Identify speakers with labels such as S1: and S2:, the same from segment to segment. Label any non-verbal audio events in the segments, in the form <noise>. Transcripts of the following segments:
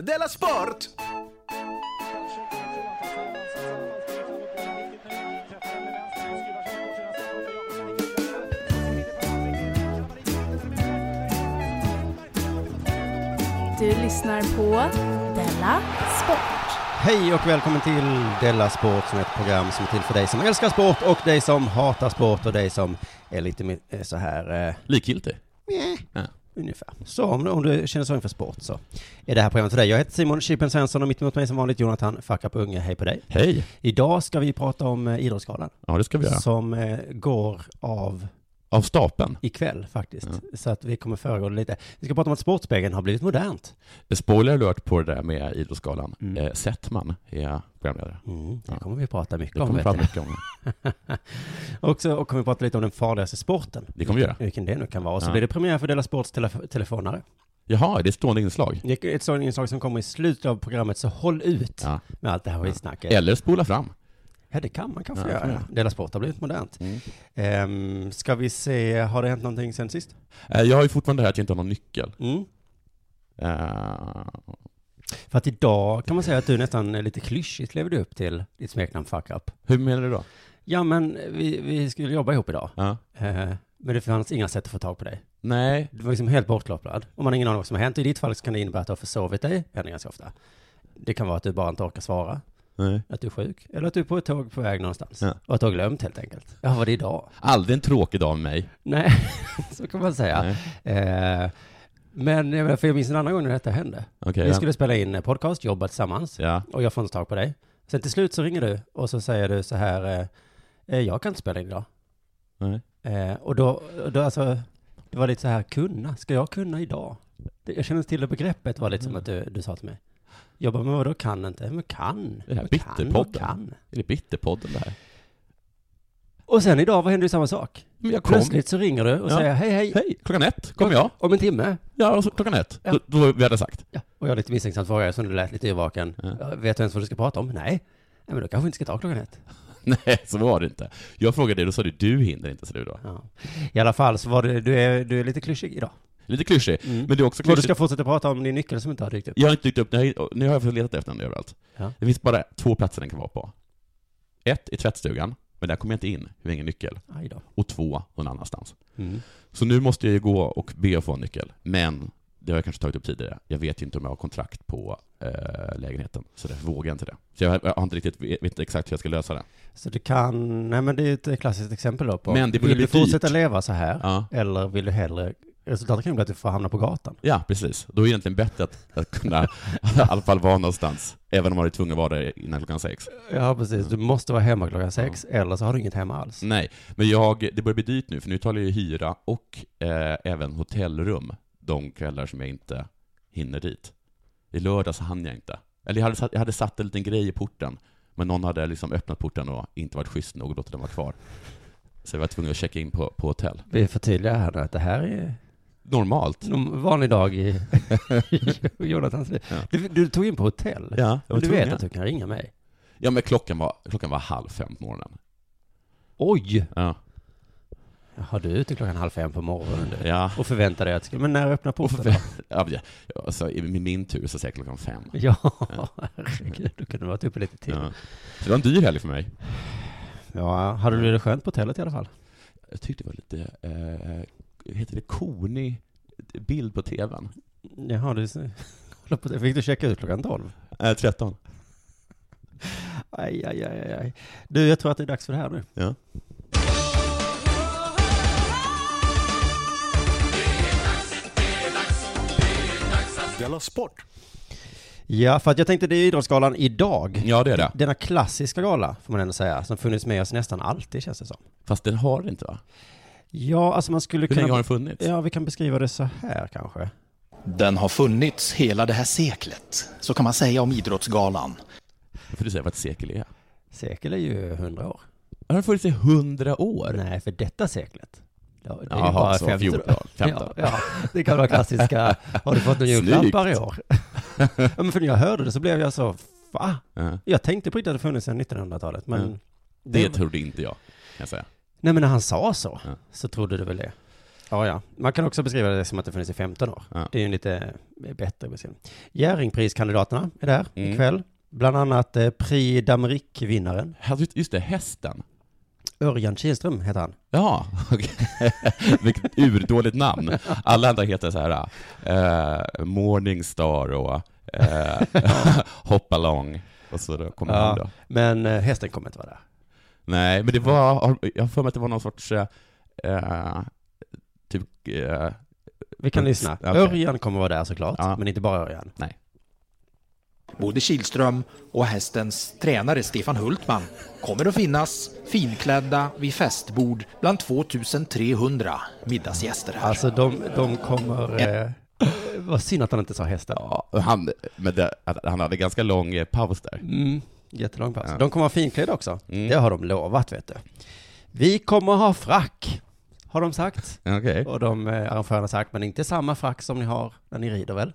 S1: Della Sport!
S2: Du lyssnar på Della Sport.
S3: Hej och välkommen till Della Sport som är ett program som är till för dig som älskar sport och dig som hatar sport och dig som är lite mer, eh, så här, eh,
S4: Likgiltig?
S3: meh,
S4: Ja.
S3: ungefär. Så om, om du känner så inför sport så är det här programmet för dig. Jag heter Simon Chippen Svensson och mitt emot mig som vanligt Jonathan Fuck Up Unge, hej på dig.
S4: Hej!
S3: Idag ska vi prata om eh, Idrottsgalan
S4: Ja, det ska vi göra.
S3: som eh, går av
S4: Av stapeln.
S3: ikväll faktiskt. Så att vi kommer föregå det lite. Vi ska prata om att Sportspegeln har blivit modernt.
S4: Spoiler alert på det där med Idrottsgalan. Eh, Settman är programledare.
S3: Mm, det kommer vi prata mycket
S4: Det
S3: om.
S4: kommer
S3: vet
S4: fram
S3: du.
S4: mycket om.
S3: Och så kommer vi prata lite om den farligaste sporten.
S4: Det kommer vi göra.
S3: vilken det nu kan vara. Och så
S4: Ja.
S3: blir det premiär för Dela Sports telef- telefonare.
S4: Jaha, det är stående inslag.
S3: Det är ett sådant inslag som kommer i slutet av programmet, så håll ut
S4: Ja.
S3: med allt det här skitsnacket. Ja.
S4: Eller spola fram.
S3: det kan man kanske
S4: Ja, det
S3: göra.
S4: får
S3: Ja. Dela Sport har blivit modernt.
S4: Mm.
S3: Ehm, ska vi se, har det hänt någonting sen sist?
S4: Eh, Jag har ju fortfarande det här att jag inte har någon nyckel.
S3: Mm.
S4: Eh,
S3: För att idag kan man säga att du nästan är lite klyschigt lever du upp till ditt smeknamn Fuck Up.
S4: Hur menar du då?
S3: Ja, men vi, vi skulle jobba ihop idag.
S4: Ja.
S3: Ehm, men det fanns inga sätt att få tag på dig.
S4: Nej,
S3: Du var liksom helt bortkopplad. Och man har ingen aning om vad som har hänt. I ditt fall så kan det innebära att du har försovit dig. Det händer ganska ofta. Det kan vara att du bara inte orkar svara.
S4: nej.
S3: Att du är sjuk. Eller att du är på ett tåg på väg någonstans.
S4: Ja.
S3: Och att du har glömt helt enkelt. Ja, var det idag?
S4: Aldrig en tråkig dag med mig.
S3: Nej, <laughs> så kan man säga.
S4: Nej.
S3: Eh, men jag, menar, för jag minns en annan gång när detta hände.
S4: Okej,
S3: Vi
S4: ja.
S3: skulle spela in en podcast, jobba tillsammans.
S4: Ja.
S3: Och jag får inte tag på dig. Sen till slut så ringer du och så säger du så här. eh, Eh, jag kan inte spela in idag.
S4: Nej.
S3: Eh, och då, då alltså, det var lite så här, kunna, ska jag kunna idag? Det, jag känner till det begreppet var lite som att du, du sa till mig. Jag bara, men vadå kan inte? Men kan?
S4: Det här
S3: Men kan, och
S4: bitterpodden.
S3: kan.
S4: Är det Bitterpodden det här?
S3: Och sen idag, vad händer ju samma sak?
S4: Men jag kom.
S3: Plötsligt så ringer du och
S4: Ja.
S3: säger hej, hej,
S4: Hej, klockan ett kom jag.
S3: om en timme.
S4: Ja, och så klockan ett.
S3: Ja.
S4: Då, då vi hade sagt. <laughs>
S3: Ja. Och jag lite misstänksamt frågar, som du lät lite yrvaken.
S4: Ja.
S3: Ja. Vet du ens vad du ska prata om? Nej. Nej, men då kanske vi inte ska ta klockan ett.
S4: Nej, så var det inte. Jag frågade dig, då sa du du hinner inte, så du då.
S3: Ja. I alla fall så var du, du är, du är lite klyschig idag.
S4: Lite klyschig,
S3: Mm.
S4: men det är också
S3: Och
S4: klyschigt.
S3: du ska fortsätta prata om din nyckel som inte har dykt upp.
S4: Jag har inte dykt upp, nu har jag- nu har jag letat efter den överallt.
S3: Ja.
S4: Det finns bara två platser den kan vara på. Ett i tvättstugan, men där kommer jag inte in, jag har ingen nyckel.
S3: Aj då.
S4: Och två någon annanstans.
S3: Mm.
S4: Så nu måste jag ju gå och be att få en nyckel. Men, det har jag kanske tagit upp tidigare, jag vet ju inte om jag har kontrakt på eh, lägenheten, så därför vågar jag inte det. Så jag, jag har inte riktigt, vet inte exakt hur jag ska lösa det.
S3: Så det kan, nej men det är ju ett klassiskt exempel då på,
S4: Men det borde
S3: vill
S4: bli
S3: du fortsätta
S4: dyrt.
S3: leva så här?
S4: Ja.
S3: Eller vill du hellre, resultatet kan ju bli att du får hamna på gatan.
S4: Ja, precis. Då är det egentligen bättre att, att kunna <laughs> i alla fall vara någonstans, även om man är tvungen att vara där innan klockan sex.
S3: Ja precis, du måste vara hemma klockan sex, eller så har du inget hemma alls.
S4: Nej, men jag, det börjar bli dyrt nu, för nu talar jag ju hyra och eh, även hotellrum de kvällar som jag inte hinner dit. I lördags hann jag inte. Eller jag hade, satt, jag hade satt en liten grej i porten, men någon hade liksom öppnat porten och inte varit schysst nog och låtit den vara kvar. Så jag var tvungen att checka in på, på hotell.
S3: Vi förtydligar här nu att det här är
S4: Normalt.
S3: en vanlig dag i i <laughs> Jonathans liv.
S4: Ja.
S3: Du, du tog in på hotell.
S4: Ja, jag
S3: Men
S4: var
S3: du
S4: tvungen.
S3: vet att du kan ringa mig.
S4: Ja, men klockan var, klockan var halv fem på morgonen.
S3: Oj!
S4: Ja.
S3: Har du är ute klockan halv fem på morgonen du?
S4: ja.
S3: Och förväntar dig att, men när öppnar porten?
S4: Och för- <laughs> Ja, men jag- alltså, I min- min tur så säger jag klockan fem.
S3: då? <laughs> Ja, herregud, du kunde varit uppe lite till.
S4: Ja. Så det var en dyr helg för mig.
S3: Ja, hade du det skönt på hotellet i alla fall?
S4: Jag tyckte det var lite, eh, heter det konig bild på tvn?
S3: Jaha, du håller på det. Fick du checka ut klockan tolv?
S4: Eh, 13.
S3: Aj, aj, aj, aj, aj. Du, jag tror att det är dags för det här nu.
S4: Ja.
S1: Della Sport!
S3: Ja, för att jag tänkte det är Idrottsgalan idag.
S4: ja, det är det.
S3: Denna klassiska gala, får man ändå säga, som funnits med oss nästan alltid, känns det som.
S4: Fast den har det inte va?
S3: Ja, alltså man skulle
S4: Hur länge har
S3: kunna...
S4: den funnits?
S3: Ja, vi kan beskriva det så här kanske.
S5: Den har funnits hela det här seklet, så kan man säga om Idrottsgalan.
S4: För du säger vad ett sekel är.
S3: Sekel är ju hundra år.
S4: Har den funnits i 100 år?
S3: Nej, för detta seklet. Ja, det är ju
S4: Jaha,
S3: bara
S4: så
S3: 50
S4: <laughs> 14,
S3: <laughs> Ja,
S4: 15.
S3: ja, det kan vara klassiska, har du fått några julklappar i
S4: Snyggt. <laughs>
S3: år? ja, men för när jag hörde det så blev jag så, va?
S4: Ja.
S3: Jag tänkte på att det hade funnits sedan 1900-talet, men...
S4: Mm. Det trodde inte jag, kan jag säga.
S3: Nej, men när han sa så,
S4: Ja.
S3: så trodde du väl det. Ja, ja. Man kan också beskriva det som att det funnits i 15 år.
S4: Ja.
S3: Det är ju en lite bättre beskrivning. Jerringpriskandidaterna är där
S4: Mm.
S3: ikväll. Bland annat eh, Prix d'Amérique-vinnaren
S4: Ja, just- Just det, hästen.
S3: Örjan Kihlström heter han.
S4: Ja, <laughs> okej. Vilket urdåligt namn. Alla andra heter så här eh, Morningstar och eh, <laughs> Hopalong. Och så då kommer han då.
S3: Men eh, hästen kommer inte vara där.
S4: Nej, men det var, har- jag har för mig att det var någon sorts, eh, eh, typ, eh,
S3: Vi kan
S4: Mm,
S3: lyssna.
S4: okej.
S3: Örjan kommer vara där såklart,
S4: Ja.
S3: men inte bara Örjan.
S5: Både Kilström och hästens tränare Stefan Hultman kommer att finnas finklädda vid festbord bland 2300 middagsgäster här.
S3: Alltså de, de kommer... Eh, vad synd att han inte sa hästen.
S4: ja, han, men det, att han hade ganska lång eh, paus där.
S3: Mm, jättelång paus.
S4: Ja.
S3: De kommer vara finklädda också.
S4: Mm.
S3: Det har de lovat, vet du. Vi kommer ha frack, har de sagt.
S4: Okej.
S3: Och de eh, arrangörerna har sagt, men inte samma frack som ni har när ni rider väl?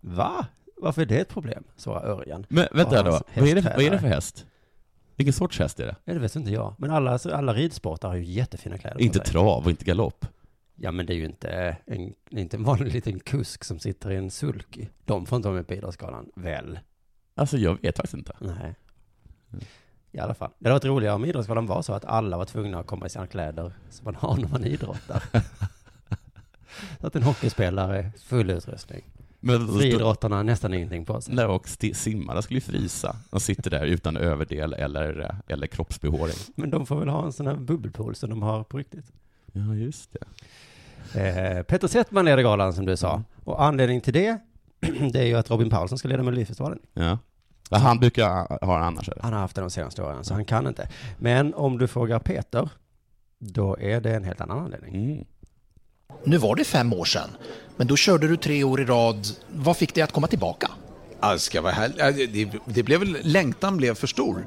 S3: Va? Varför är det ett problem? svarar Örjan.
S4: Men vänta
S3: Och
S4: då,
S3: hans
S4: vad är, det, vad är det
S3: hästtränare.
S4: för häst? Vilken sorts häst är det?
S3: Ja, det vet inte jag. Men alla, alltså, alla ridsportare har ju jättefina kläder på
S4: Inte
S3: sig.
S4: trav och inte galopp.
S3: Ja, men det är ju inte eh, en, det är inte en vanlig liten kusk som sitter i en sulky. De får inte vara med på Idrottsgalan, väl?
S4: Alltså jag vet faktiskt inte.
S3: Nej. I alla fall. Det hade varit roligare om Idrottsgalan var så att alla var tvungna att komma i sina kläder som man har när man idrottar. så att en hockeyspelare, full utrustning.
S4: Men
S3: Friidrottarna har nästan ingenting på sig.
S4: Nej, och sti- simmarna skulle ju frysa. De sitter där utan överdel eller, eh, eller kroppsbehåring.
S3: Men de får väl ha en sån här bubbelpool som de har på riktigt.
S4: Ja, just det.
S3: Eh, Peter Settman leder galan som du sa.
S4: Mm.
S3: Och anledningen till det, <clears throat> det är ju att Robin Paulsson ska leda Melodifestivalen.
S4: Ja. Ja, Han brukar ha det annars. eller?
S3: Han har haft det de senaste åren, så han kan inte. Men om du frågar Peter, då är det en helt annan anledning.
S4: Mm.
S5: Nu var det fem år sedan, men då körde du tre år i rad. Vad fick dig att komma tillbaka?
S6: Ja, det ska vara härligt. Ja, det- Det, det blev väl, längtan blev för stor.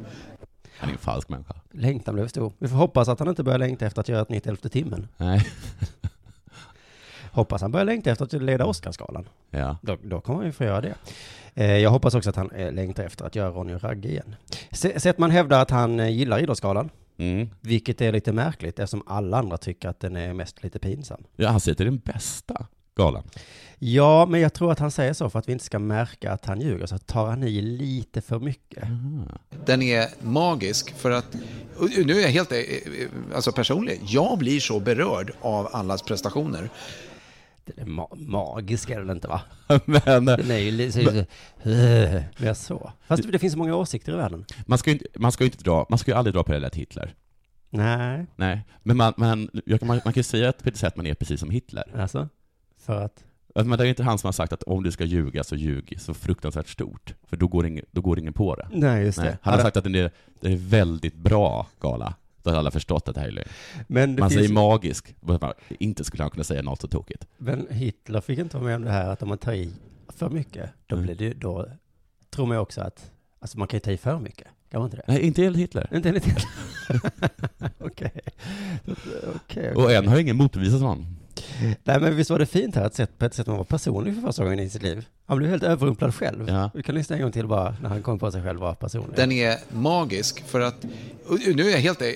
S4: Han är en falsk människa.
S3: Längtan blev stor. Vi får hoppas att han inte börjar längta efter att göra ett nytt Elfte timmen.
S4: Nej. <laughs>
S3: Hoppas han börjar längta efter att leda Oscarsgalan.
S4: Ja.
S3: Då, då kommer han ju få göra det. Eh, jag hoppas också att han eh, längtar efter att göra Ronny och Ragge igen. Se- Settman hävdar att han eh, gillar Idrottsgalan,
S4: Mm.
S3: vilket är lite märkligt eftersom alla andra tycker att den är mest lite pinsam.
S4: ja, han säger att det är den bästa galan. <laughs>
S3: Ja, men jag tror att han säger så för att vi inte ska märka att han ljuger, så tar han i lite för mycket.
S6: Den är magisk för att, och nu är jag helt eh, eh, alltså personlig, jag blir så berörd av allas prestationer.
S3: Den är ma- magisk är den inte va?
S4: Men eh,
S3: Den är ju lite <laughs> mer så. Fast det finns så många åsikter i världen.
S4: man ska ju inte, man ska ju inte dra, man ska ju aldrig dra parallella till Hitler.
S3: Nej,
S4: Nej, men man, man, jag kan- man, man kan ju säga att Peter Settman är precis som Hitler.
S3: alltså. För att?
S4: Men det är inte han som har sagt att om du ska ljuga så ljug så fruktansvärt stort, för då går ingen, då går ingen på det.
S3: Nej, Mm, just
S4: Nej, han har sagt att den är, den är väldigt bra gala. Då har alla förstått att det här är lögn.
S3: men, det
S4: Man säger
S3: finns,
S4: magisk, men man- inte skulle han kunna säga något så tokigt.
S3: men Hitler fick inte vara med om det här att om man tar i för mycket, då
S4: Mm.
S3: blir det ju, då tror man ju också att, alltså man kan ju ta i för mycket, kan man inte det? <laughs>
S4: Nej, inte helt Hitler.
S3: Inte enligt Hitler? <laughs> Okej. Okej. okej.
S4: Och än har ingen motbevisat honom.
S3: Nej men visst var det fint här att se- på ett sätt man var personlig för första gången i sitt liv. Han blev helt överrumplad själv.
S4: Ja.
S3: Vi kan lyssna en gång till bara när han kom på sig själv vara personlig.
S6: Den är magisk för att, och nu är jag helt eh, eh,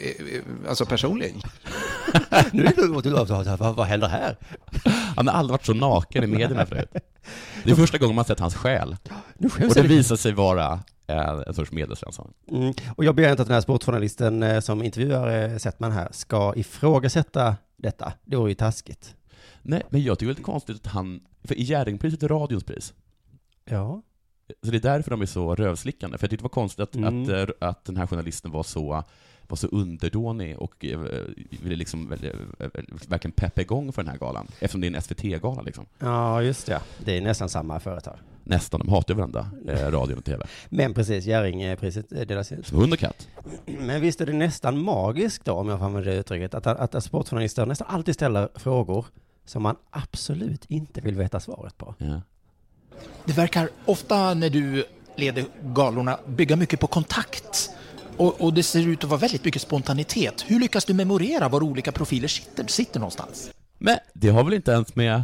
S6: alltså personlig,
S3: <laughs> Nu är det, du- du- vad, vad händer här?
S4: Han har aldrig varit så naken i medierna förut. Det är första gången man sett hans själ.
S3: Nu
S4: Och
S3: skäms
S4: det
S3: jag.
S4: visar sig vara eh, en sorts medelsvensson.
S3: Mm. Och jag begär inte att den här sportjournalisten eh, som intervjuar eh, Settman här ska ifrågasätta detta. Det vore ju taskigt.
S4: Nej, men jag tycker det är lite konstigt att han, för i Jerringpriset är radions pris.
S3: Ja.
S4: Så det är därför de är så rövslickande. För jag tyckte det var konstigt att,
S3: Mm.
S4: att, eh, att den här journalisten var så, var så underdånig och eh, ville liksom väl- eh, verkligen peppa igång för den här galan. Eftersom det är en SVT-gala liksom.
S3: Ja, just det. Det är nästan samma företag.
S4: Nästan, de hatar ju varandra, eh, radion och TV.
S3: Men precis, Jerringpriset eh, delas ut.
S4: Som hund och katt.
S3: Men visst är det nästan magiskt då, om jag får använda det uttrycket, att, att, att sportjournalister nästan alltid ställer frågor som man absolut inte vill veta svaret på.
S4: Ja.
S5: Det verkar ofta när du leder galorna bygga mycket på kontakt. Och, och det ser ut att vara väldigt mycket spontanitet. Hur lyckas du memorera var olika profiler sitter, sitter någonstans?
S4: Men det har väl inte ens med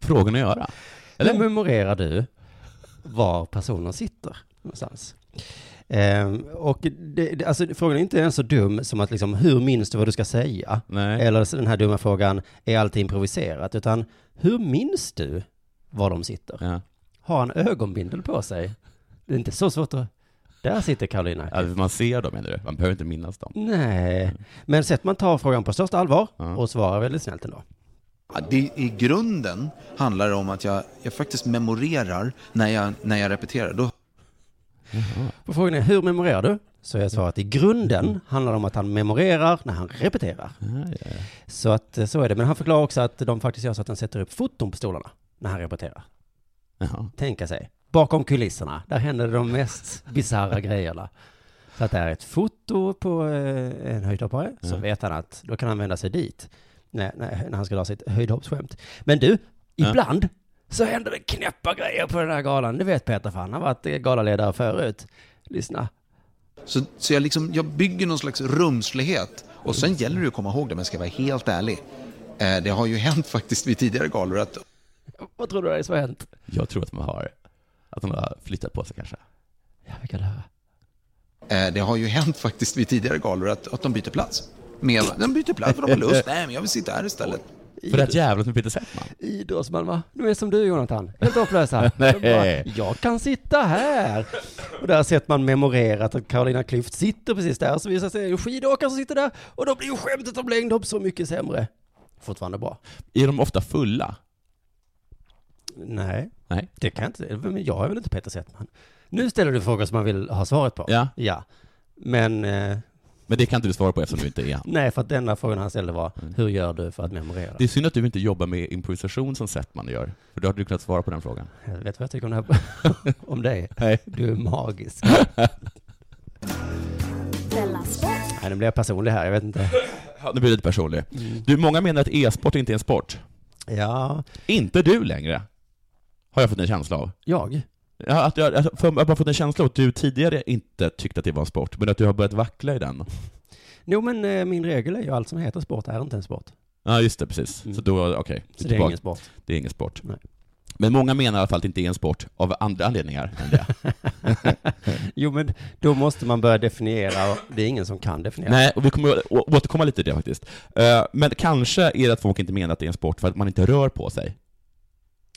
S4: frågan att göra?
S3: Eller memorerar du var personer sitter någonstans? Ehm, och det, det, alltså, frågan är inte ens så dum som att liksom, hur minns du vad du ska säga?
S4: Nej.
S3: Eller så den här dumma frågan, är allt improviserat? Utan, hur minns du var de sitter?
S4: Ja.
S3: Har han ögonbindel på sig? Det är inte så svårt att... Där sitter Karolina.
S4: Ja, man ser dem, menar du? Man behöver inte minnas dem.
S3: Nej, men sett man tar frågan på största allvar
S4: Ja.
S3: och svarar väldigt snällt ändå.
S6: Ja, Det, I grunden handlar det om att jag, jag faktiskt memorerar när jag, när jag repeterar. Då
S3: På frågan är hur memorerar du? Så är svaret i grunden handlar det om att han memorerar när han repeterar. Så att eh, så är det. Men han förklarar också att de faktiskt gör så att han sätter upp foton på stolarna när han repeterar.
S4: Ja.
S3: Tänka sig, bakom kulisserna, där händer de mest bisarra grejerna. Så att det är ett foto på eh, en höjdhoppare, så vet han att då kan han vända sig dit när, när, när han ska dra sitt höjdhoppsskämt. Men du, ibland så händer det knäppa grejer på den här galan. Det vet Peter, för han har varit eh, galaledare förut. Lyssna.
S6: Så, så jag, liksom, jag bygger någon slags rumslighet. Och sen gäller det ju att komma ihåg det, men ska jag vara helt ärlig. Eh, det har ju <laughs> hänt faktiskt vid tidigare galor att
S3: Vad tror du det är som har hänt?
S4: Jag tror att man har, att de har flyttat på sig kanske.
S3: Ja, vi kan höra.
S6: Eh, Det har ju hänt faktiskt vid tidigare galor att, att de byter plats. Med, de byter plats för de har lust. Nej, men jag vill sitta här istället.
S4: För att jävlas med Peter Settman.
S3: Idrottsman va? De är som du Jonathan, helt
S4: <laughs>
S3: hopplösa. De bara, jag kan sitta här. Och där har sett man memorerat att Carolina Klüft sitter precis där, så visar sig det en skidåkare som sitter där, och då blir ju skämtet om längdhopp så mycket sämre. Fortfarande bra.
S4: Är de ofta fulla?
S3: Nej,
S4: Nej.
S3: det kan jag inte, men jag är väl inte Peter Settman. Nu ställer du frågor som man vill ha svaret på.
S4: Ja.
S3: Ja. Men, eh,
S4: Men det kan inte du svara på eftersom du inte är han.
S3: nej, för att denna frågan han ställde var, hur gör du för att memorera?
S4: Mm. Det är synd att du inte jobbar med improvisation som Settman gör, för då hade du kunnat svara på den frågan.
S3: Jag vet vad jag tycker om, det här, <laughs> om dig?
S4: Nej.
S3: Du är
S4: <laughs>
S3: magisk.
S2: Della Sport.
S3: Nej, nu blir jag personlig här, jag vet inte.
S4: Ja, nu blir det lite personlig. Du, många menar att e-sport inte är en sport.
S3: Ja,
S4: Inte du längre, har jag fått en känsla av.
S3: jag?
S4: Ja, att jag, alltså, för jag har bara fått en känsla av att du tidigare inte tyckte att det var en sport, men att du har börjat vackla i den.
S3: Jo, men eh, min regel är ju allt som heter sport är inte en sport.
S4: Ja, just det, precis.
S3: Mm.
S4: Så då, okej.
S3: Så det är
S4: Tillbaka.
S3: ingen sport. <laughs>
S4: det är ingen sport.
S3: Nej.
S4: Men många menar i alla fall att det inte är en sport av andra anledningar
S3: <laughs>
S4: än det.
S3: Jo, men då måste man börja definiera och det är ingen som kan definiera.
S4: Nej, och vi kommer å- å- återkomma lite till det faktiskt. Eh, Men kanske är det att folk inte menar att det är en sport för att man inte rör på sig.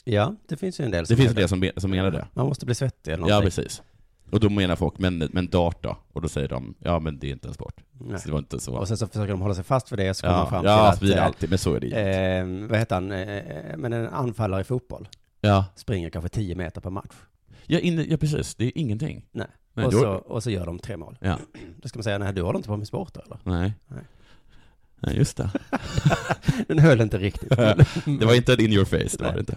S3: Ja, det finns ju en del
S4: Det finns ju
S3: hävdar
S4: det som, be- som menar det.
S3: Man måste bli svettig eller
S4: Ja,
S3: någonting.
S4: precis. Och då menar folk, men, men dart då? Och då säger de, ja men det är inte en sport.
S3: Nej.
S4: Så det var inte så.
S3: Och sen så försöker de hålla sig fast för det så kommer man
S4: ja,
S3: fram
S4: ja så
S3: till
S4: blir det
S3: att...
S4: alltid, men så är det ju.
S3: eh, Eh, vad heter han? Eh, men en anfallare i fotboll
S4: ja.
S3: springer kanske 10 meter per match.
S4: Ja, inne, ja, precis. Det är ingenting.
S3: Nej.
S4: Nej,
S3: och,
S4: då-
S3: så, och så gör de tre mål.
S4: Ja.
S3: Då ska man säga, nej du håller inte på med sport eller? <laughs>
S4: Nej.
S3: Nej.
S4: Nej, just det.
S3: Den höll inte riktigt.
S4: Det var inte en in your face, det var det inte.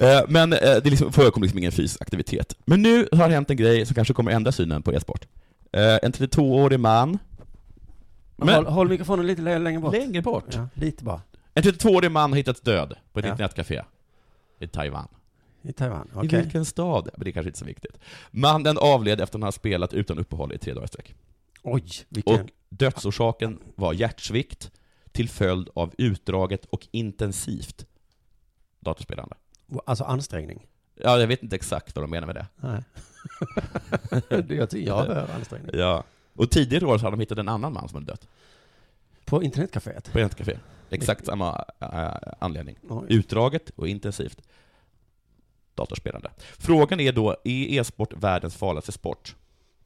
S4: Eh, Men eh, det liksom förekom liksom ingen fysisk aktivitet. Men nu har det hänt en grej som kanske kommer ändra synen på e-sport. Eh, En 32-årig man... <laughs> Men-
S3: håll, håll mikrofonen lite lä- längre bort.
S4: Längre bort?
S3: Ja, Typ, lite bara.
S4: En 32-årig man har hittats död på ett
S3: Ja.
S4: internetcafé i Taiwan.
S3: I Taiwan. Okej.
S4: I vilken stad? Men det är kanske inte så viktigt. Mannen avled efter att han har spelat utan uppehåll i tre dagar i sträck.
S3: Oj, vilken...
S4: Och dödsorsaken var hjärtsvikt till följd av utdraget och intensivt datorspelande.
S3: Alltså ansträngning.
S4: Ja, jag vet inte exakt vad de menar med det.
S3: <laughs> Nej. jag tycker jag behöver ansträngning.
S4: Ja. Och tidigare år så hade de hittat en annan man som hade dött
S3: På internetcaféet?
S4: på ett café. Exakt samma eh, anledning.
S3: Oj.
S4: Utdraget och intensivt datorspelande. Frågan är då, är e-sport världens farligaste sport?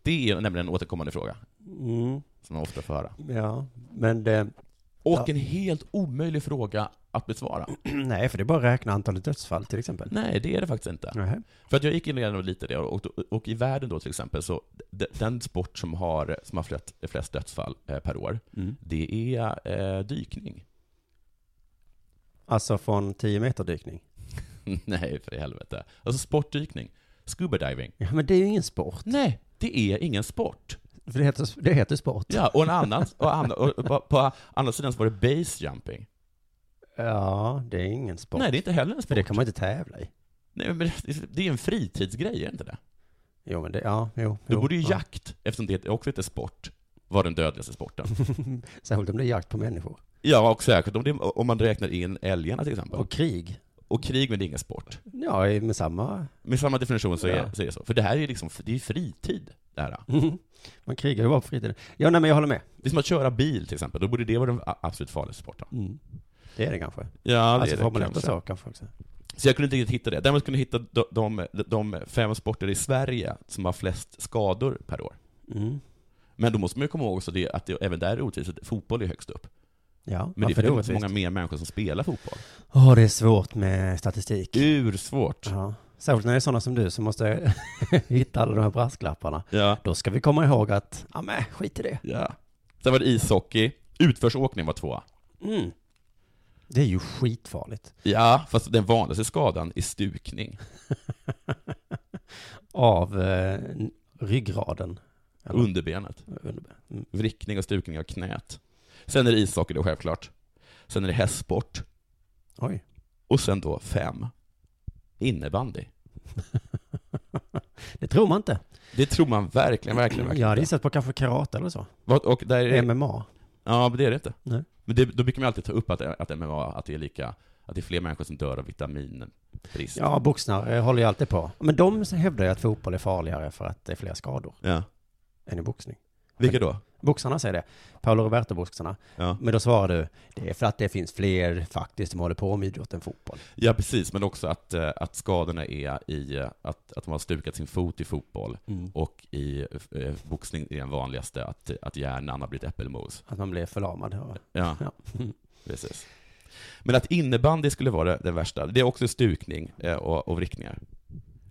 S4: Det är nämligen en återkommande fråga
S3: Mm,
S4: som man ofta får höra.
S3: ja, men det... <clears throat>
S4: Och
S3: Ja.
S4: en helt omöjlig fråga att besvara.
S3: Nej, för det är bara att räkna antalet dödsfall till exempel. Mm.
S4: Nej, det är det faktiskt inte.
S3: Nej.
S4: För att jag gick in igenom lite det, och, och i världen då till exempel, så d- den sport som har, som har flest, flest dödsfall eh, per år, det är eh, dykning.
S3: Alltså från 10 meter dykning.
S4: <laughs> Nej, för i helvete. Alltså sportdykning. Scuba diving.
S3: Ja, men det är ju ingen sport.
S4: Nej, det är ingen sport.
S3: För det heter, det heter sport.
S4: Ja, och en annan, och annan och på, på andra sidan så var det base jumping.
S3: Ja, det är ingen sport.
S4: Nej, det är inte heller en
S3: För
S4: sport.
S3: det kan man inte tävla i.
S4: Nej, men det- det är en fritidsgrej, är det inte det?
S3: Jo, men det... Ja, jo.
S4: Då
S3: jo,
S4: borde ju
S3: ja.
S4: jakt, eftersom det också heter sport, vara den dödligaste sporten. <laughs>
S3: Särskilt om det är jakt på människor.
S4: Ja, och säkert om, det, om man räknar in älgarna till exempel.
S3: Och krig.
S4: Och krig, men det är ingen sport.
S3: Ja, i- med samma...
S4: Med samma definition så är,
S3: Ja.
S4: så är det så. För det här är ju liksom, det är ju fritid, det här.
S3: <laughs> Man krigar ju bara på fritiden. Ja, nej men jag håller med.
S4: Det är som att köra bil till exempel, då borde det vara den a- absolut farligaste sporten.
S3: Det är det kanske.
S4: Mm. Ja, det
S3: alltså
S4: är det
S3: Formel 1 och
S4: kanske.
S3: så kanske också.
S4: Så jag kunde inte riktigt hitta det. Däremot kunde jag hitta de, de, de fem sporter i Sverige som har flest skador per år.
S3: Mm.
S4: Men då måste man ju komma ihåg också det, att det, även där är det orättvist, att fotboll är högst upp.
S3: Ja,
S4: Men det är
S3: varför
S4: för
S3: det
S4: att det är så
S3: orättvist?
S4: många mer människor som spelar fotboll.
S3: Åh, det är svårt med statistik.
S4: Mm. Ursvårt.
S3: Ja. Särskilt när det är sådana som du som måste <laughs> hitta alla de här brasklapparna.
S4: Ja.
S3: Då ska vi komma ihåg att, ja men skit i det.
S4: ja. Sen var det ishockey. Utförsåkning var tvåa.
S3: Mm. Det är ju skitfarligt. <laughs>
S4: Ja, fast den vanligaste skadan är stukning.
S3: Av eh, n- ryggraden. Ja.
S4: Underbenet. Vrickning och stukning av knät. Sen är det ishockey då självklart. Sen är det hästsport.
S3: Oj.
S4: Och sen då fem. Innebandy.
S3: Det tror man inte.
S4: Det tror man verkligen, verkligen,
S3: Jag
S4: verkligen.
S3: hade gissat på kanske karate eller så.
S4: Vad- Och där är det,
S3: MMA.
S4: ja, men det är det inte.
S3: Nej.
S4: Men det, då brukar man alltid ta upp att, att MMA, att det är lika, att det är fler människor som dör av vitaminbrist.
S3: Ja, boxare håller ju alltid på. Men de hävdar ju att fotboll är farligare för att det är fler skador
S4: Ja.
S3: än i boxning.
S4: Vilka då?
S3: Boxarna säger det. Paolo Roberto-boxarna.
S4: Ja.
S3: Men då svarar du, det är för att det finns fler faktiskt som håller på med idrott än fotboll.
S4: ja, precis, men också att, eh, att skadorna är i eh, att, att man har stukat sin fot i fotboll och i eh, boxning är den vanligaste, att, att hjärnan har blivit äppelmos.
S3: Att man blir förlamad. Och...
S4: Ja,
S3: Ja.
S4: <laughs> precis. Men att innebandy skulle vara det, det värsta, det är också stukning eh, och, och vrickningar.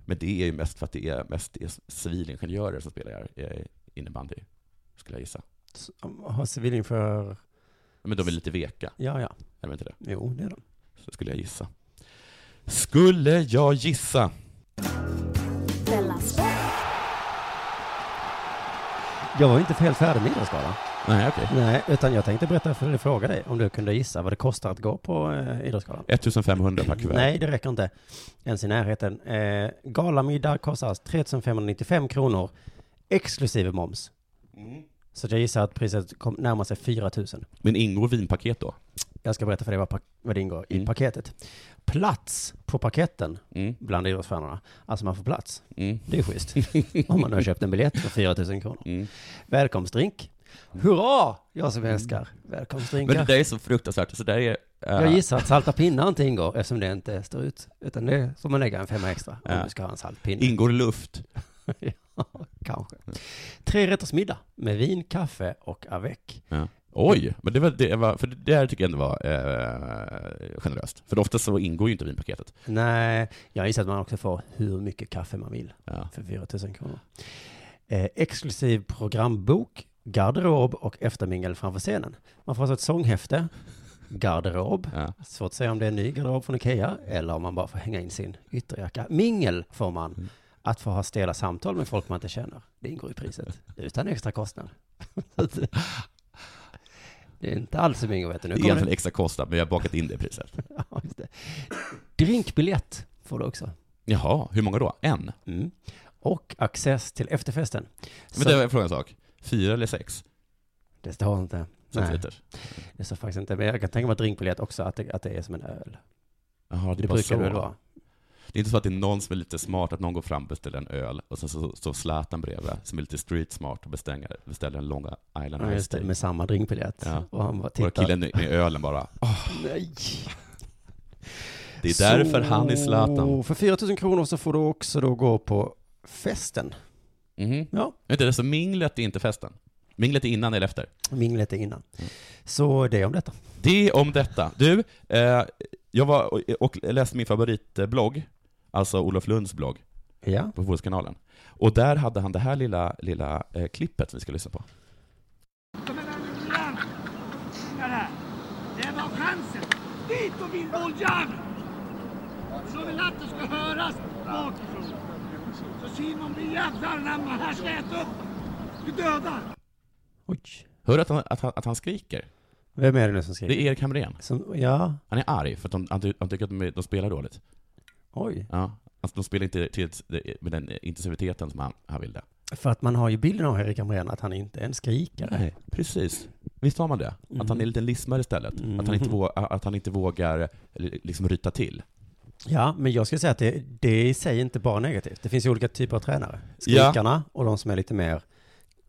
S4: Men det är ju mest för att det är, mest det är civilingenjörer som spelar eh, innebandy, skulle jag gissa.
S3: S- Har civilingenjör...
S4: Men de är lite veka,
S3: Ja, ja.
S4: är de inte det?
S3: Jo, det är de.
S4: Så skulle jag gissa. Skulle jag gissa?
S2: Della Sport.
S3: Jag var ju inte helt färdig med Idrottsgalan.
S4: Nej, okej.
S3: Nej, utan jag tänkte berätta för dig, fråga dig om du kunde gissa vad det kostar att gå på eh, Idrottsgalan.
S4: 1500 per kuvert.
S3: Nej, det räcker inte ens i närheten. Eh, galamiddag kostar 3595 kronor exklusive moms. Så att jag gissar att priset kom, närmar sig 4000.
S4: Men ingår vinpaket då?
S3: Jag ska berätta för dig vad, pak- vad det ingår i
S4: Mm.
S3: paketet. Plats på paketten
S4: Mm.
S3: bland idrottsstjärnorna. Alltså man får plats.
S4: Mm.
S3: Det är
S4: <laughs>
S3: schysst. Om man nu har köpt en biljett för 4000 kronor.
S4: Mm.
S3: Välkomstdrink. Hurra! Jag som älskar
S4: Men det
S3: välkomstdrinkar.
S4: där är så fruktansvärt, så där är... eh,
S3: Jag gissar att salta pinnar inte ingår eftersom det inte står ut. Utan det får man lägga en femma extra om
S4: Ja.
S3: du ska ha en saltpinne.
S4: Ingår luft?
S3: ja, <laughs> kanske. Tre rätters middag med vin, kaffe och avec.
S4: Ja. Oj, men det var, det var, för det där tycker jag ändå var eh, generöst. För ofta så ingår ju inte vinpaketet.
S3: Nej, jag gissar att man också får hur mycket kaffe man vill
S4: Ja.
S3: för 4000 kronor. Eh, exklusiv programbok, garderob och eftermingel framför scenen. Man får alltså ett sånghäfte, garderob,
S4: Ja.
S3: svårt att säga om det är en ny garderob från Ikea eller om man bara får hänga in sin ytterjacka. Mingel får man, att få ha stela samtal med folk man inte känner. Det ingår i priset, <laughs> utan extra kostnad. <laughs> Så att- det är inte alls mingel vet du. Nu
S4: Det är
S3: kommer det.
S4: egentligen extra kostnad, men jag har bakat in det i priset.
S3: Ja, just det. <laughs> Drinkbiljett får du också.
S4: Jaha, hur många då? En?
S3: Mm. Och access till efterfesten.
S4: Men
S3: Så,
S4: det
S3: det...
S4: var jag frågar en sak. Fyra eller sex
S3: står inte. Nej,
S4: centiliter?
S3: det står faktiskt inte. Men jag kan tänka mig att drinkbiljett också, att det, att det är som en öl.
S4: Jaha,
S3: Det,
S4: det, är bara
S3: brukar
S4: så.
S3: det väl vara.
S4: Det är inte så att det är någon som är lite smart, att någon går fram och beställer en öl, och sen så står Zlatan bredvid, som är lite street smart och beställer, beställer en Long Island
S3: Ja,
S4: Ice
S3: just det,
S4: Tea.
S3: med samma drinkbiljett.
S4: Ja.
S3: Och han bara
S4: Och
S3: tittar.
S4: killen med ölen bara, "Ah,
S3: Nej.
S4: det är därför han är Zlatan.
S3: För 4 000 kronor så får du också då gå på festen.
S4: Mhm.
S3: Ja.
S4: Vänta, alltså minglet är inte festen? Minglet är innan eller efter?
S3: Minglet är innan.
S4: Mm.
S3: Så det om detta.
S4: Det om detta. Du, eh, jag var och, och läste min favoritblogg, alltså Olof Lunds blogg,
S3: Ja.
S4: på Fotbollskanalen. Och där hade han det här lilla, lilla eh, klippet som vi ska lyssna på.
S7: Där! Det var chansen! Dit och vinn bolljäveln! Så vill att det ska höras bakifrån. Så Simon blir jävla anamma. Här ska jag äta upp Du dödar!
S3: Oj.
S4: Hör du att han, att, han, att han skriker?
S3: Vem är det nu som skriver?
S4: Det är Erik Hamrén.
S3: Som, ja.
S4: Han är arg för att de, han, ty- han tycker att de, de spelar dåligt.
S3: Oj.
S4: Ja. Alltså, de spelar inte till, med den intensiviteten som han, han ville.
S3: För att man har ju bilden av Erik Hamrén att han inte är en skrikare.
S4: Nej, precis. Visst har man det? Att han är en liten lismare istället? Att, han inte vågar, att han inte vågar eh, liksom ryta till?
S3: Ja, men jag skulle säga att det, det i sig är inte bara negativt. Det finns ju olika typer av tränare. Skrikarna och de som är lite mer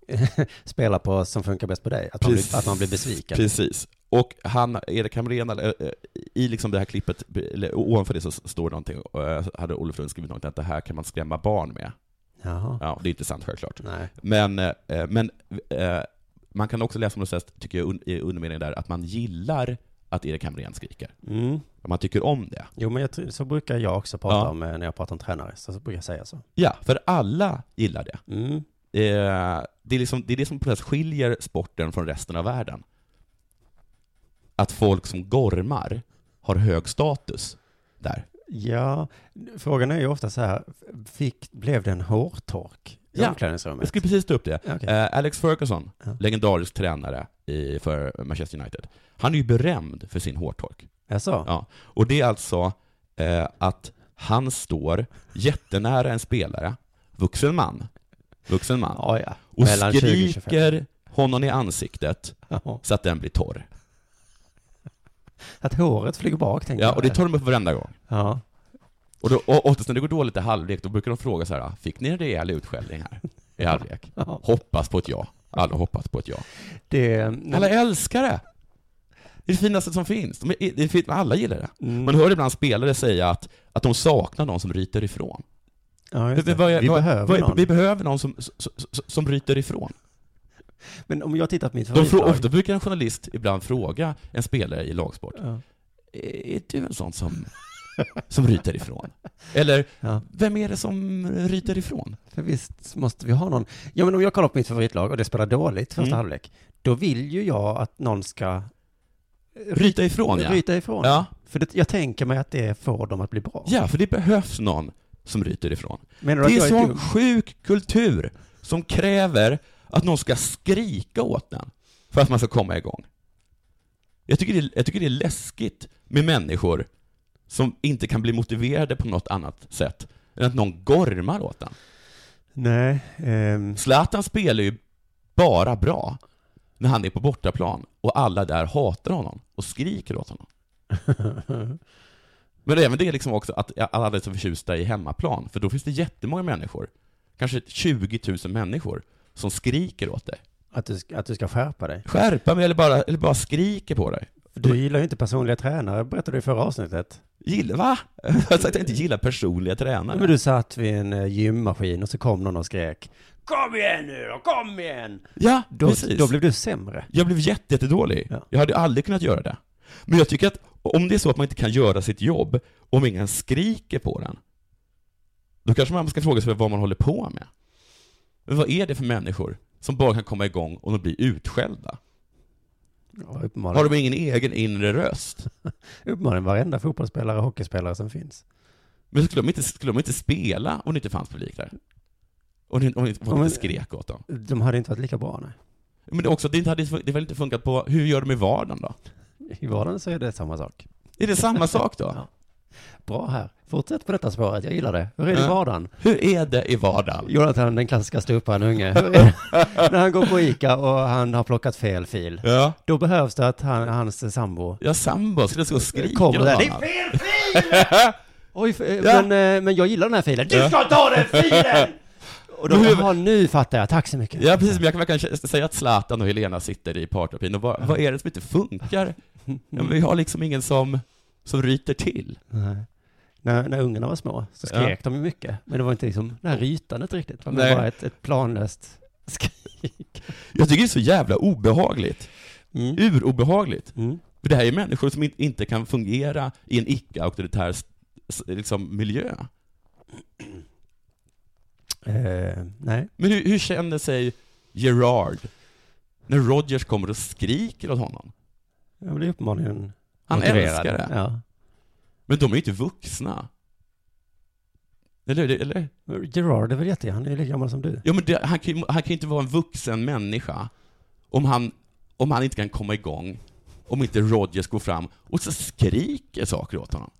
S3: <laughs> spelar på som funkar bäst på dig. Att, man
S4: Precis.
S3: blir, att man blir besviken.
S4: Precis. Och han, Erik Hamrén, eller, eh, i liksom det här klippet, eller, ovanför det så står det någonting, och, eh, hade Olof Lund skrivit någonting, att det här kan man skrämma barn med.
S3: Jaha.
S4: Ja, det är inte sant självklart.
S3: Nej.
S4: Men, eh, men eh, man kan också läsa någonstans, tycker jag, un- i undermeningen där, att man gillar att Erik Hamrén skriker.
S3: Mm.
S4: Att Man tycker om det.
S3: Jo, men jag, tror- så brukar jag också prata
S4: Ja.
S3: om eh, när jag pratar om tränare. Så, så brukar jag säga så.
S4: Ja, för alla gillar det.
S3: Mm.
S4: Eh, det, är liksom, det är det som på något sätt skiljer sporten från resten av världen. Att folk som gormar har hög status där.
S3: Ja, frågan är ju ofta så här, fick, blev det en hårtork i
S4: Ja. Jag
S3: omklädningsrummet?
S4: skulle precis ta upp det.
S3: Ja, okej.
S4: Eh, Alex Ferguson,
S3: Ja.
S4: legendarisk tränare i, för Manchester United, han är ju berömd för sin hårtork.
S3: Jaså?
S4: Ja. Och det är alltså eh, att han står jättenära en spelare, vuxen man, vuxen man,
S3: Ja, ja.
S4: och
S3: Mellan 20 och 25.
S4: skriker honom i ansiktet
S3: Ja.
S4: så att den blir torr.
S3: Att håret flyger bak, tänker
S4: Ja,
S3: jag.
S4: och det tar de upp varenda gång.
S3: Ja.
S4: Och, då, och oftast när det går dåligt i halvlek, då brukar de fråga så här, "Ah, fick ni en rejäl utskällning här i halvlek? Hoppas på ett ja. Alla hoppas på ett ja.
S3: Det,
S4: Alla älskar det! Det är det finaste som finns. De är, det är fint, alla gillar det.
S3: mm.
S4: Man hör ibland spelare säga att, att de saknar någon som ryter ifrån.
S3: ja, just det.
S4: Vad är-
S3: vi
S4: vad är-
S3: behöver
S4: vad är-
S3: någon.
S4: Vi behöver någon som, som, som- som ryter ifrån.
S3: Men om jag tittar på mitt
S4: De frå,
S3: favoritlag.
S4: ofta brukar en journalist ibland fråga en spelare i lagsport,
S3: Ja.
S4: "Är- är du en sån som, som ryter ifrån? Eller,
S3: Ja.
S4: vem är det som ryter ifrån?
S3: För visst måste vi ha någon. Ja, men om jag kollar på mitt favoritlag och det spelar dåligt första
S4: Mm.
S3: halvlek, då vill ju jag att någon ska
S4: Ryta ifrån, ja.
S3: ryta ifrån.
S4: Ja.
S3: För det, jag tänker mig att det får dem att bli bra.
S4: ja, för det behövs någon som ryter ifrån.
S3: Menar du
S4: Det
S3: att
S4: är
S3: jag är
S4: sån
S3: dum?
S4: sjuk kultur som kräver att någon ska skrika åt den för att man ska komma igång. Jag tycker det är, jag tycker det är läskigt med människor som inte kan bli motiverade på något annat sätt än att någon gormar åt den.
S3: Nej. ehm,
S4: Zlatan spelar ju bara bra när han är på bortaplan och alla där hatar honom och skriker åt honom. Men även det är liksom också att alla är så förtjusta i hemmaplan, för då finns det jättemånga människor, kanske 20 000 människor, som skriker åt dig.
S3: <laughs> att, du, ska- att du ska skärpa dig.
S4: Skärpa mig eller bara, eller bara skriker på dig.
S3: För Du gillar ju inte personliga tränare, berättade du i förra avsnittet.
S4: Gillar, va? <laughs> Jag har sagt att jag inte gillar personliga tränare.
S3: Men du satt vid en eh, gymmaskin och så kom någon och skrek Kom igen nu då, kom igen!
S4: ja,
S3: Då,
S4: precis.
S3: då blev du sämre.
S4: Jag blev jätte, jättedålig.
S3: Ja.
S4: Jag hade aldrig kunnat göra det. Men jag tycker att om det är så att man inte kan göra sitt jobb, om ingen skriker på den, då kanske man ska fråga sig vad man håller på med. Men vad är det för människor som bara kan komma igång och de blir utskällda?
S3: Ja, uppenbarligen.
S4: Har de ingen egen inre röst?
S3: Uppenbarligen varenda fotbollsspelare och hockeyspelare som finns.
S4: Men skulle de inte, skulle de inte spela om det inte fanns publik där? Om det, om det, om
S3: Ja,
S4: det
S3: men-
S4: inte skrek åt dem?
S3: De hade inte varit lika bra, nej.
S4: Men det, är också, det, inte hade, det hade inte funkat på, hur gör de i vardagen då?
S3: I vardagen så är det samma sak.
S4: Är
S3: <laughs>
S4: det samma sak då?
S3: Ja. Bra här. Fortsätt på detta spåret, jag gillar det. Hur är det i
S4: Ja.
S3: vardagen?
S4: Hur är det i vardagen?
S3: Jonathan, den klassiska ståupparen <laughs> unge. Hur är det? När han går på ICA och han har plockat fel fil.
S4: Ja.
S3: Då behövs det att han, hans sambo
S4: Ja, sambo skulle stå och skrika
S3: kommer
S4: åt
S3: där. Det
S4: honom.
S3: är fel fil! Oj, f- men, eh, men jag gillar den här filen. Du
S4: Ja.
S3: ska ta den filen! <laughs> Och då,
S4: Men hur-
S3: jaha, nu fattar jag. Tack så mycket.
S4: Ja, precis. Men jag kan verkligen säga att Zlatan och Helena sitter i partnerapin och vad, vad är det som inte funkar? Ja, men vi har liksom ingen som, som ryter till.
S3: Nej. När, när ungarna var små så
S4: Ja.
S3: skrek de ju mycket. Men det var inte liksom det här rytandet riktigt. Det var
S4: Nej.
S3: bara ett, ett planlöst skrik.
S4: Jag tycker det är så jävla obehagligt.
S3: Mm.
S4: Urobehagligt.
S3: Mm.
S4: För det här är människor som in- inte kan fungera i en icke-auktoritär s- s- liksom, miljö.
S3: Eh, nej.
S4: Men hur, hur känner sig Gerard när Rogers kommer och skriker åt honom?
S3: Jag blir uppenbarligen
S4: Han
S3: motiverad.
S4: älskar det.
S3: Ja.
S4: Men de är ju inte vuxna. Eller hur? Eller?
S3: Gerard är väl jätte, han är ju lika gammal som du.
S4: Ja, men det, han, kan ju, han kan ju inte vara en vuxen människa om han, om han inte kan komma igång, om inte Rodgers går fram och så skriker saker åt honom.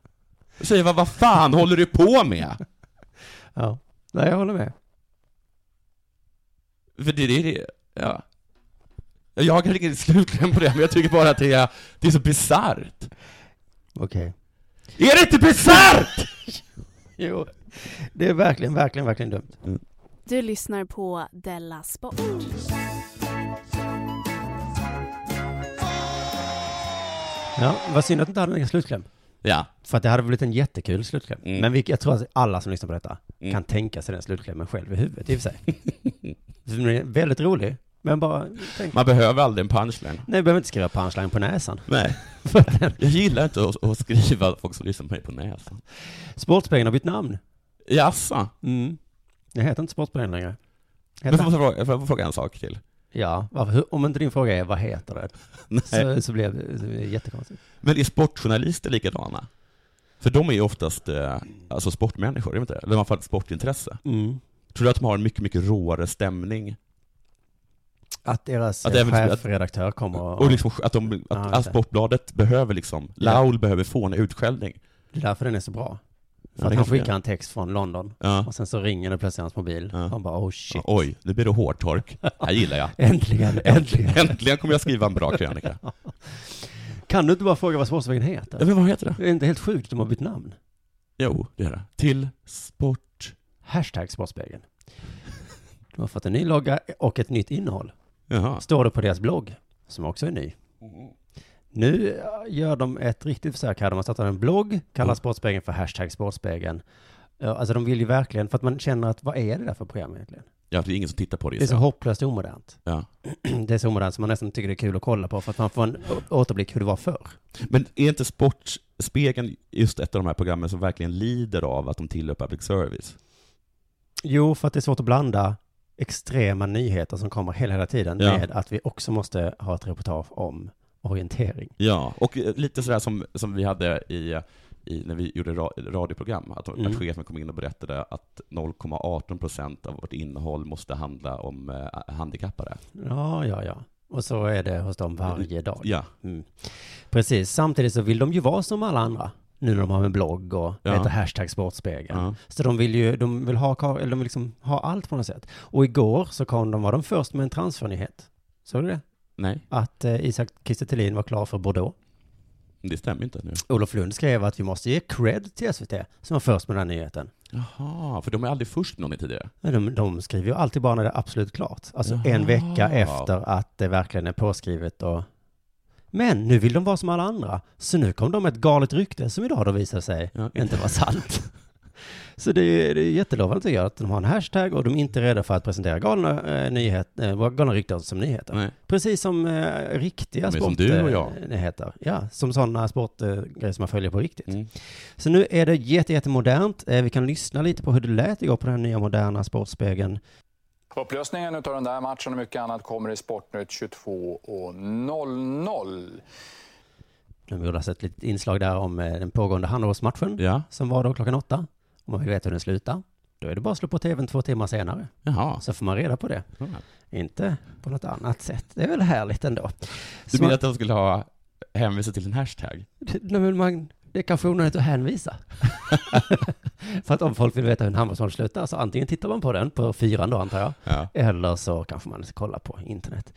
S4: Och säger vad, vad fan håller du på med?
S3: Ja. Nej, jag håller med.
S4: För det, det, det ja. Jag har kanske ingen slutkläm på det, men jag tycker bara att det är, det är så bisarrt.
S3: Okej.
S4: Är det inte bisarrt?
S3: Jo, det är verkligen, verkligen, verkligen dumt.
S4: Mm.
S2: Du lyssnar på Della Sport.
S3: Ja, vad synd att du inte hade en egen slutkläm.
S4: Ja,
S3: För att det hade blivit en jättekul slutkläm.
S4: Mm.
S3: Men vi, jag tror att alla som lyssnar på detta
S4: Mm.
S3: kan tänka sig den slutklämmen själv i huvudet i och för
S4: <laughs>
S3: sig. Så Den är väldigt rolig, men bara tänk.
S4: man behöver aldrig en punchline.
S3: Nej, du behöver inte skriva punchline på näsan. <laughs>
S4: Nej. Jag gillar inte att, att skriva folk som lyssnar på mig på näsan.
S3: Sportspegeln har bytt namn.
S4: Jaså?
S3: Mm. Jag heter inte Sportspegeln längre.
S4: Men
S3: Heter
S4: får
S3: den?
S4: jag fråga- får jag fråga en sak till?
S3: Ja, varför, hur- om inte din fråga är vad heter det?
S4: Nej.
S3: Så, så blev det, så blev det jättekonstigt.
S4: Men är sportjournalister likadana? För de är ju oftast eh, alltså sportmänniskor, är de inte? Eller i alla fall ett sportintresse.
S3: Mm.
S4: Tror du att de har en mycket, mycket råare stämning?
S3: Att deras
S4: Att
S3: eh,
S4: även-
S3: chefredaktör kommer och...
S4: Och liksom att, de, att,
S3: Ja, just
S4: att
S3: det.
S4: Sportbladet behöver liksom, Laul behöver få en utskällning.
S3: Det är därför den är så bra. För
S4: Ja,
S3: att han
S4: det kanske det är.
S3: skickar en text från London.
S4: Ja.
S3: Och sen så ringer det plötsligt hans mobil.
S4: Ja.
S3: Han bara oh shit.
S4: Ja, Oj, nu blir det hårtork. <laughs> Det här gillar jag. <laughs>
S3: Äntligen, äntligen.
S4: Äntligen kommer jag skriva en bra krönika.
S3: Kan du inte bara fråga vad Sportspegeln heter?
S4: <laughs> Ja, men vad heter det?
S3: Det är inte helt sjukt att de har bytt namn.
S4: Jo, det är det. Till sport...
S3: Hashtag Sportspegeln. De har fått en ny logga och ett nytt innehåll.
S4: Jaha.
S3: Står det på deras blogg, som också är ny. Nu eh, gör de ett riktigt försök här. De har startat en blogg, kallar
S4: Mm.
S3: Sportspegeln för hashtag Sportspegeln. Ja, Alltså de vill ju verkligen, för att man känner att vad är det där för program egentligen?
S4: Ja, det är ingen som tittar på det.
S3: Det är så
S4: så.
S3: hopplöst omodernt.
S4: Ja.
S3: <clears throat> Det är så omodernt som man nästan tycker det är kul att kolla på för att man får en å- återblick hur det var förr.
S4: Men är inte Sportspegeln just ett av de här programmen som verkligen lider av att de tillhör public service?
S3: Jo, för att det är svårt att blanda extrema nyheter som kommer hela, hela tiden
S4: Ja.
S3: med att vi också måste ha ett reportage om orientering.
S4: Ja, och eh, lite sådär som, som vi hade i, i, när vi gjorde ra, radioprogram, att,
S3: Mm.
S4: att chefen kom in och berättade att 0,18% av vårt innehåll måste handla om eh, handikappade.
S3: Ja, ja, ja. Och så är det hos dem varje dag.
S4: Ja,
S3: Mm. Precis, samtidigt så vill de ju vara som alla andra. Nu när de har en blogg och
S4: Ja.
S3: heter hashtag sportspegeln.
S4: Ja.
S3: Så de vill ju, de vill ha, kar- eller de vill liksom ha allt på något sätt. Och igår så kom de, var de först med en transfernyhet. Såg du det?
S4: nej,
S3: Att eh, Isak Kiese Thelin var klar för Bordeaux.
S4: det stämmer ju inte nu.
S3: Olof Lund skrev att vi måste ge cred till SVT som var först med den här nyheten.
S4: Jaha, för de är aldrig först med någon tidigare.
S3: Men de, de skriver ju alltid bara när det är absolut klart. Alltså
S4: Jaha.
S3: en vecka efter att det verkligen är påskrivet och... Men nu vill de vara som alla andra. Så nu kom de med ett galet rykte som idag då visar sig
S4: Ja.
S3: inte vara sant. <laughs> Så det är, det är jättelovande tycker jag att de har en hashtag och de är inte rädda för att presentera galna, eh, nyhet, eh, galna rykten som nyheter.
S4: Nej.
S3: Precis som eh, riktiga
S4: Men som
S3: sport,
S4: du och
S3: eh,
S4: jag.
S3: nyheter. Ja, som sådana sportgrejer som man följer på riktigt.
S4: Mm.
S3: Så nu är det jätte, jättemodernt. Eh, Vi kan lyssna lite på hur det lät igår på den här nya moderna Sportspegeln.
S8: Upplösningen av den där matchen och mycket annat kommer i Sportnytt 22.00.
S3: De gjorde alltså ett litet inslag där om eh, den pågående handbollsmatchen
S4: Ja,
S3: som var då klockan åtta. Om man vill veta hur den slutar, då är det bara att slå på tvn två timmar senare.
S4: jaha.
S3: Så får man reda på det.
S4: Ja.
S3: Inte på något annat sätt. Det är väl härligt ändå.
S4: Du
S3: Så
S4: menar att de skulle ha hänvisat till en hashtag?
S3: man, nej, men man, det är kanske onödigt att hänvisa. <laughs> För att om folk vill veta hur en handbollsmatch slutar så antingen tittar man på den på fyran då antar jag.
S4: Ja.
S3: Eller så kanske man ska kolla på internet.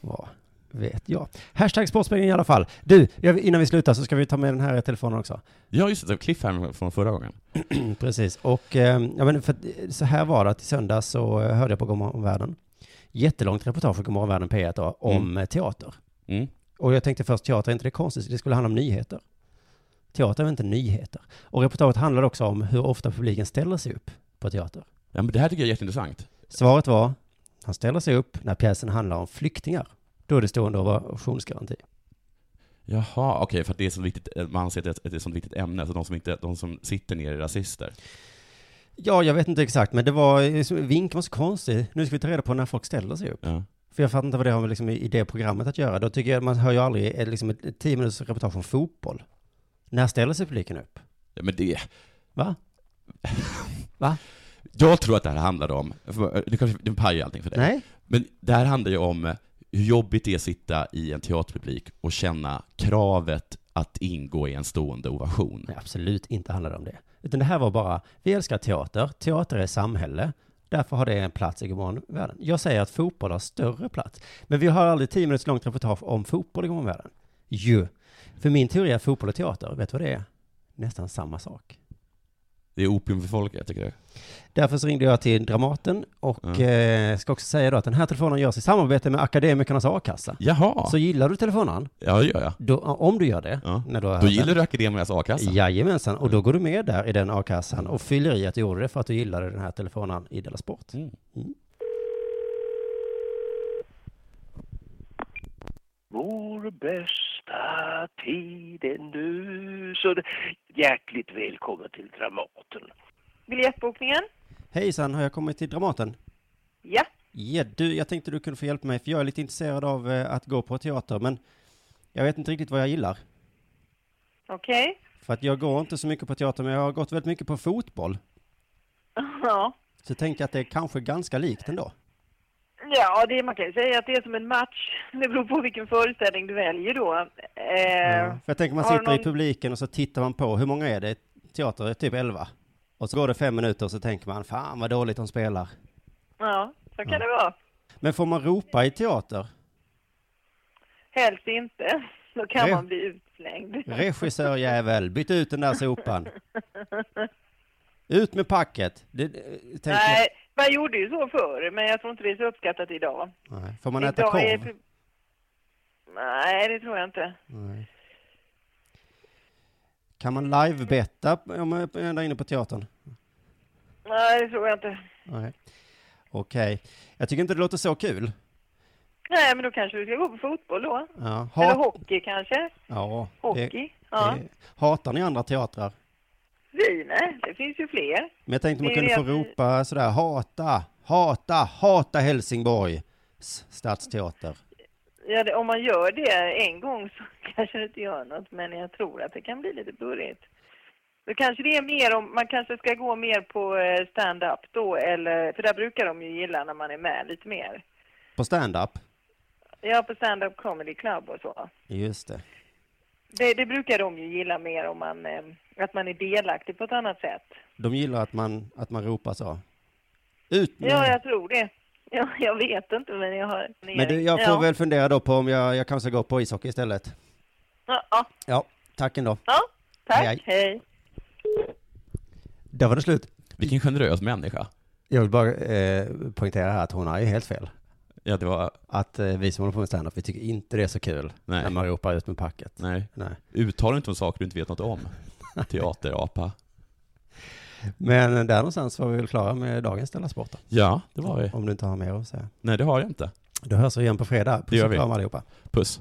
S3: Vad vet jag. Hashtag Sportspegeln i alla fall. Du, jag- innan vi slutar så ska vi ta med den här i telefonen också.
S4: Ja, just det. Cliffhanger från förra gången.
S3: Mm, Precis. Och eh, ja, men för, att, eh, så här var det att i söndags så eh, hörde jag på Gomorron Världen. Jättelångt reportage från Gomorron Världen P1 då, om eh, teater.
S4: Mm.
S3: Och jag tänkte först, teater är inte det konstigt? Det skulle handla om nyheter. Teater är väl inte nyheter? Och reportaget handlade också om hur ofta publiken ställer sig upp på teater.
S4: Ja, men det här tycker jag är jätteintressant.
S3: Svaret var, han ställer sig upp när pjäsen handlar om flyktingar. Då är det stående ovationsgaranti.
S4: Jaha, okej, för att det är så viktigt, eh, man anser att det är ett sånt viktigt ämne, så de som, inte, de som sitter ner är rasister.
S3: Ja, jag vet inte exakt, men det var, vinken var så konstig. Nu ska vi ta reda på när folk ställer sig upp.
S4: Ja.
S3: För jag fattar inte vad det har med liksom, i det programmet att göra. Då tycker jag, man hör ju aldrig eh, liksom, ett tio minuters reportage om fotboll. När ställer sig publiken upp?
S4: Ja, Men det, <laughs>
S3: Va? Va?
S4: jag tror att det här handlar om, för- det kanske det pajar allting för dig,
S3: Nej?
S4: men det här handlar ju om eh, hur jobbigt det är att sitta i en teaterpublik och känna kravet att ingå i en stående ovation.
S3: Nej, absolut inte handlar det om det. Utan det här var bara, vi älskar teater, teater är samhälle, därför har det en plats i Gomorron Världen. Jag säger att fotboll har större plats. Men vi har aldrig tio minuters långt reportage om fotboll i Gomorron Världen. Ju. För min teori är fotboll och teater, vet du vad det är? nästan samma sak.
S4: Det är opium för folket, tycker jag.
S3: Därför så ringde jag till Dramaten och
S4: Ja.
S3: eh, ska också säga då att den här telefonen görs i samarbete med Akademikernas A-kassa.
S4: Jaha,
S3: Så gillar du telefonen,
S4: ja det gör jag.
S3: då, om du gör det,
S4: Ja.
S3: när du har hört
S4: Då
S3: den,
S4: gillar du Akademias a-kassa?
S3: Jajamensan, och då går du med där i den a-kassan och fyller i att du gjorde det för att du gillade den här telefonen i Della Sport.
S9: Vår bästa tid är nu. Så det- hjärtligt välkommen till Dramaten.
S10: Biljettbokningen?
S3: Hejsan, har jag kommit till Dramaten?
S10: Ja.
S3: Ja, du, jag tänkte du kunde få hjälpa mig, för jag är lite intresserad av eh, att gå på teater, men jag vet inte riktigt vad jag gillar.
S10: Okej.
S3: För att jag går inte så mycket på teater, men jag har gått väldigt mycket på fotboll.
S10: <laughs> Ja.
S3: Så jag tänker att det är kanske ganska likt ändå.
S10: Ja, det, man kan ju säga att det är som en match. Det beror på vilken föreställning du väljer då. Eh,
S3: Ja, För jag tänker man
S10: har
S3: sitter i
S10: någon-
S3: publiken och så tittar man på, hur många är det? Teater är typ 11. Och så går det fem minuter och så tänker man, fan vad dåligt de spelar.
S10: ja, så kan det vara.
S3: Men får man ropa i teater?
S10: Helst inte. Då kan
S3: Nej.
S10: man bli utslängd.
S3: Regissörjävel, byt ut den där sopan. Ut med packet. Det, det, tänker
S10: Nej, man gjorde ju så förr, men jag tror inte det är så uppskattat idag.
S3: Jag, nej. Får man
S10: idag
S3: äta korv?
S10: är pub- Nej, det tror jag inte.
S3: Nej. Kan man livebetta om man är där inne på teatern?
S10: Nej, det tror jag inte.
S3: Nej. Okej. Jag tycker inte det låter så kul.
S10: Nej, men då kanske du ska gå på fotboll då.
S3: Ja.
S10: Eller
S3: Hat- Eh,
S10: hockey kanske?
S3: ja,
S10: Hockey?
S3: det-
S10: ja.
S3: det- Hatar ni andra teatrar?
S10: Vi, nej, det finns ju fler.
S3: Men jag tänkte man
S10: Det
S3: kunde
S10: är
S3: få
S10: det jag-
S3: ropa sådär, hata, hata, hata Helsingborg s- stadsteater.
S10: Ja, det, om man gör det en gång så <laughs> kanske det inte gör något, men jag tror att det kan bli lite burrigt. Då kanske det är mer om, man kanske ska gå mer på eh, stand-up då, eller, för där brukar de ju gilla när man är med lite mer.
S3: På stand-up?
S10: Ja, på stand-up comedy club och så.
S3: Just det.
S10: Det, det brukar de ju gilla mer om man, eh, att man är delaktig på ett annat sätt.
S3: De gillar att man, att man ropar så. Ut med...
S10: Ja, jag tror det. Ja, jag vet inte, men jag har...
S3: Mm. Men du, jag får
S10: ja.
S3: väl fundera då på om jag, jag kanske går på ishockey istället.
S10: Ja, ja,
S3: Ja, tack ändå.
S10: ja. tack.
S3: Hej,
S10: hej.
S3: Där var det slut.
S4: Vilken generös människa.
S3: Jag vill bara eh, poängtera här att hon har ju helt fel.
S4: Ja, det var...
S3: Att eh, vi som håller på med standup, vi tycker inte det är så kul
S4: Nej.
S3: när man ropar ut med packet.
S4: Nej.
S3: Nej.
S4: Uttala inte om saker du inte vet något <laughs> om. Teaterapa.
S3: Men där någonstans var vi väl klara med dagens Della Sport då.
S4: Ja, det var vi.
S3: Om du inte har mer att säga.
S4: Nej, det har jag inte.
S3: Då hörs vi igen på fredag.
S4: Det
S3: Puss
S4: gör
S3: och
S4: vi.
S3: kram allihopa.
S4: Puss.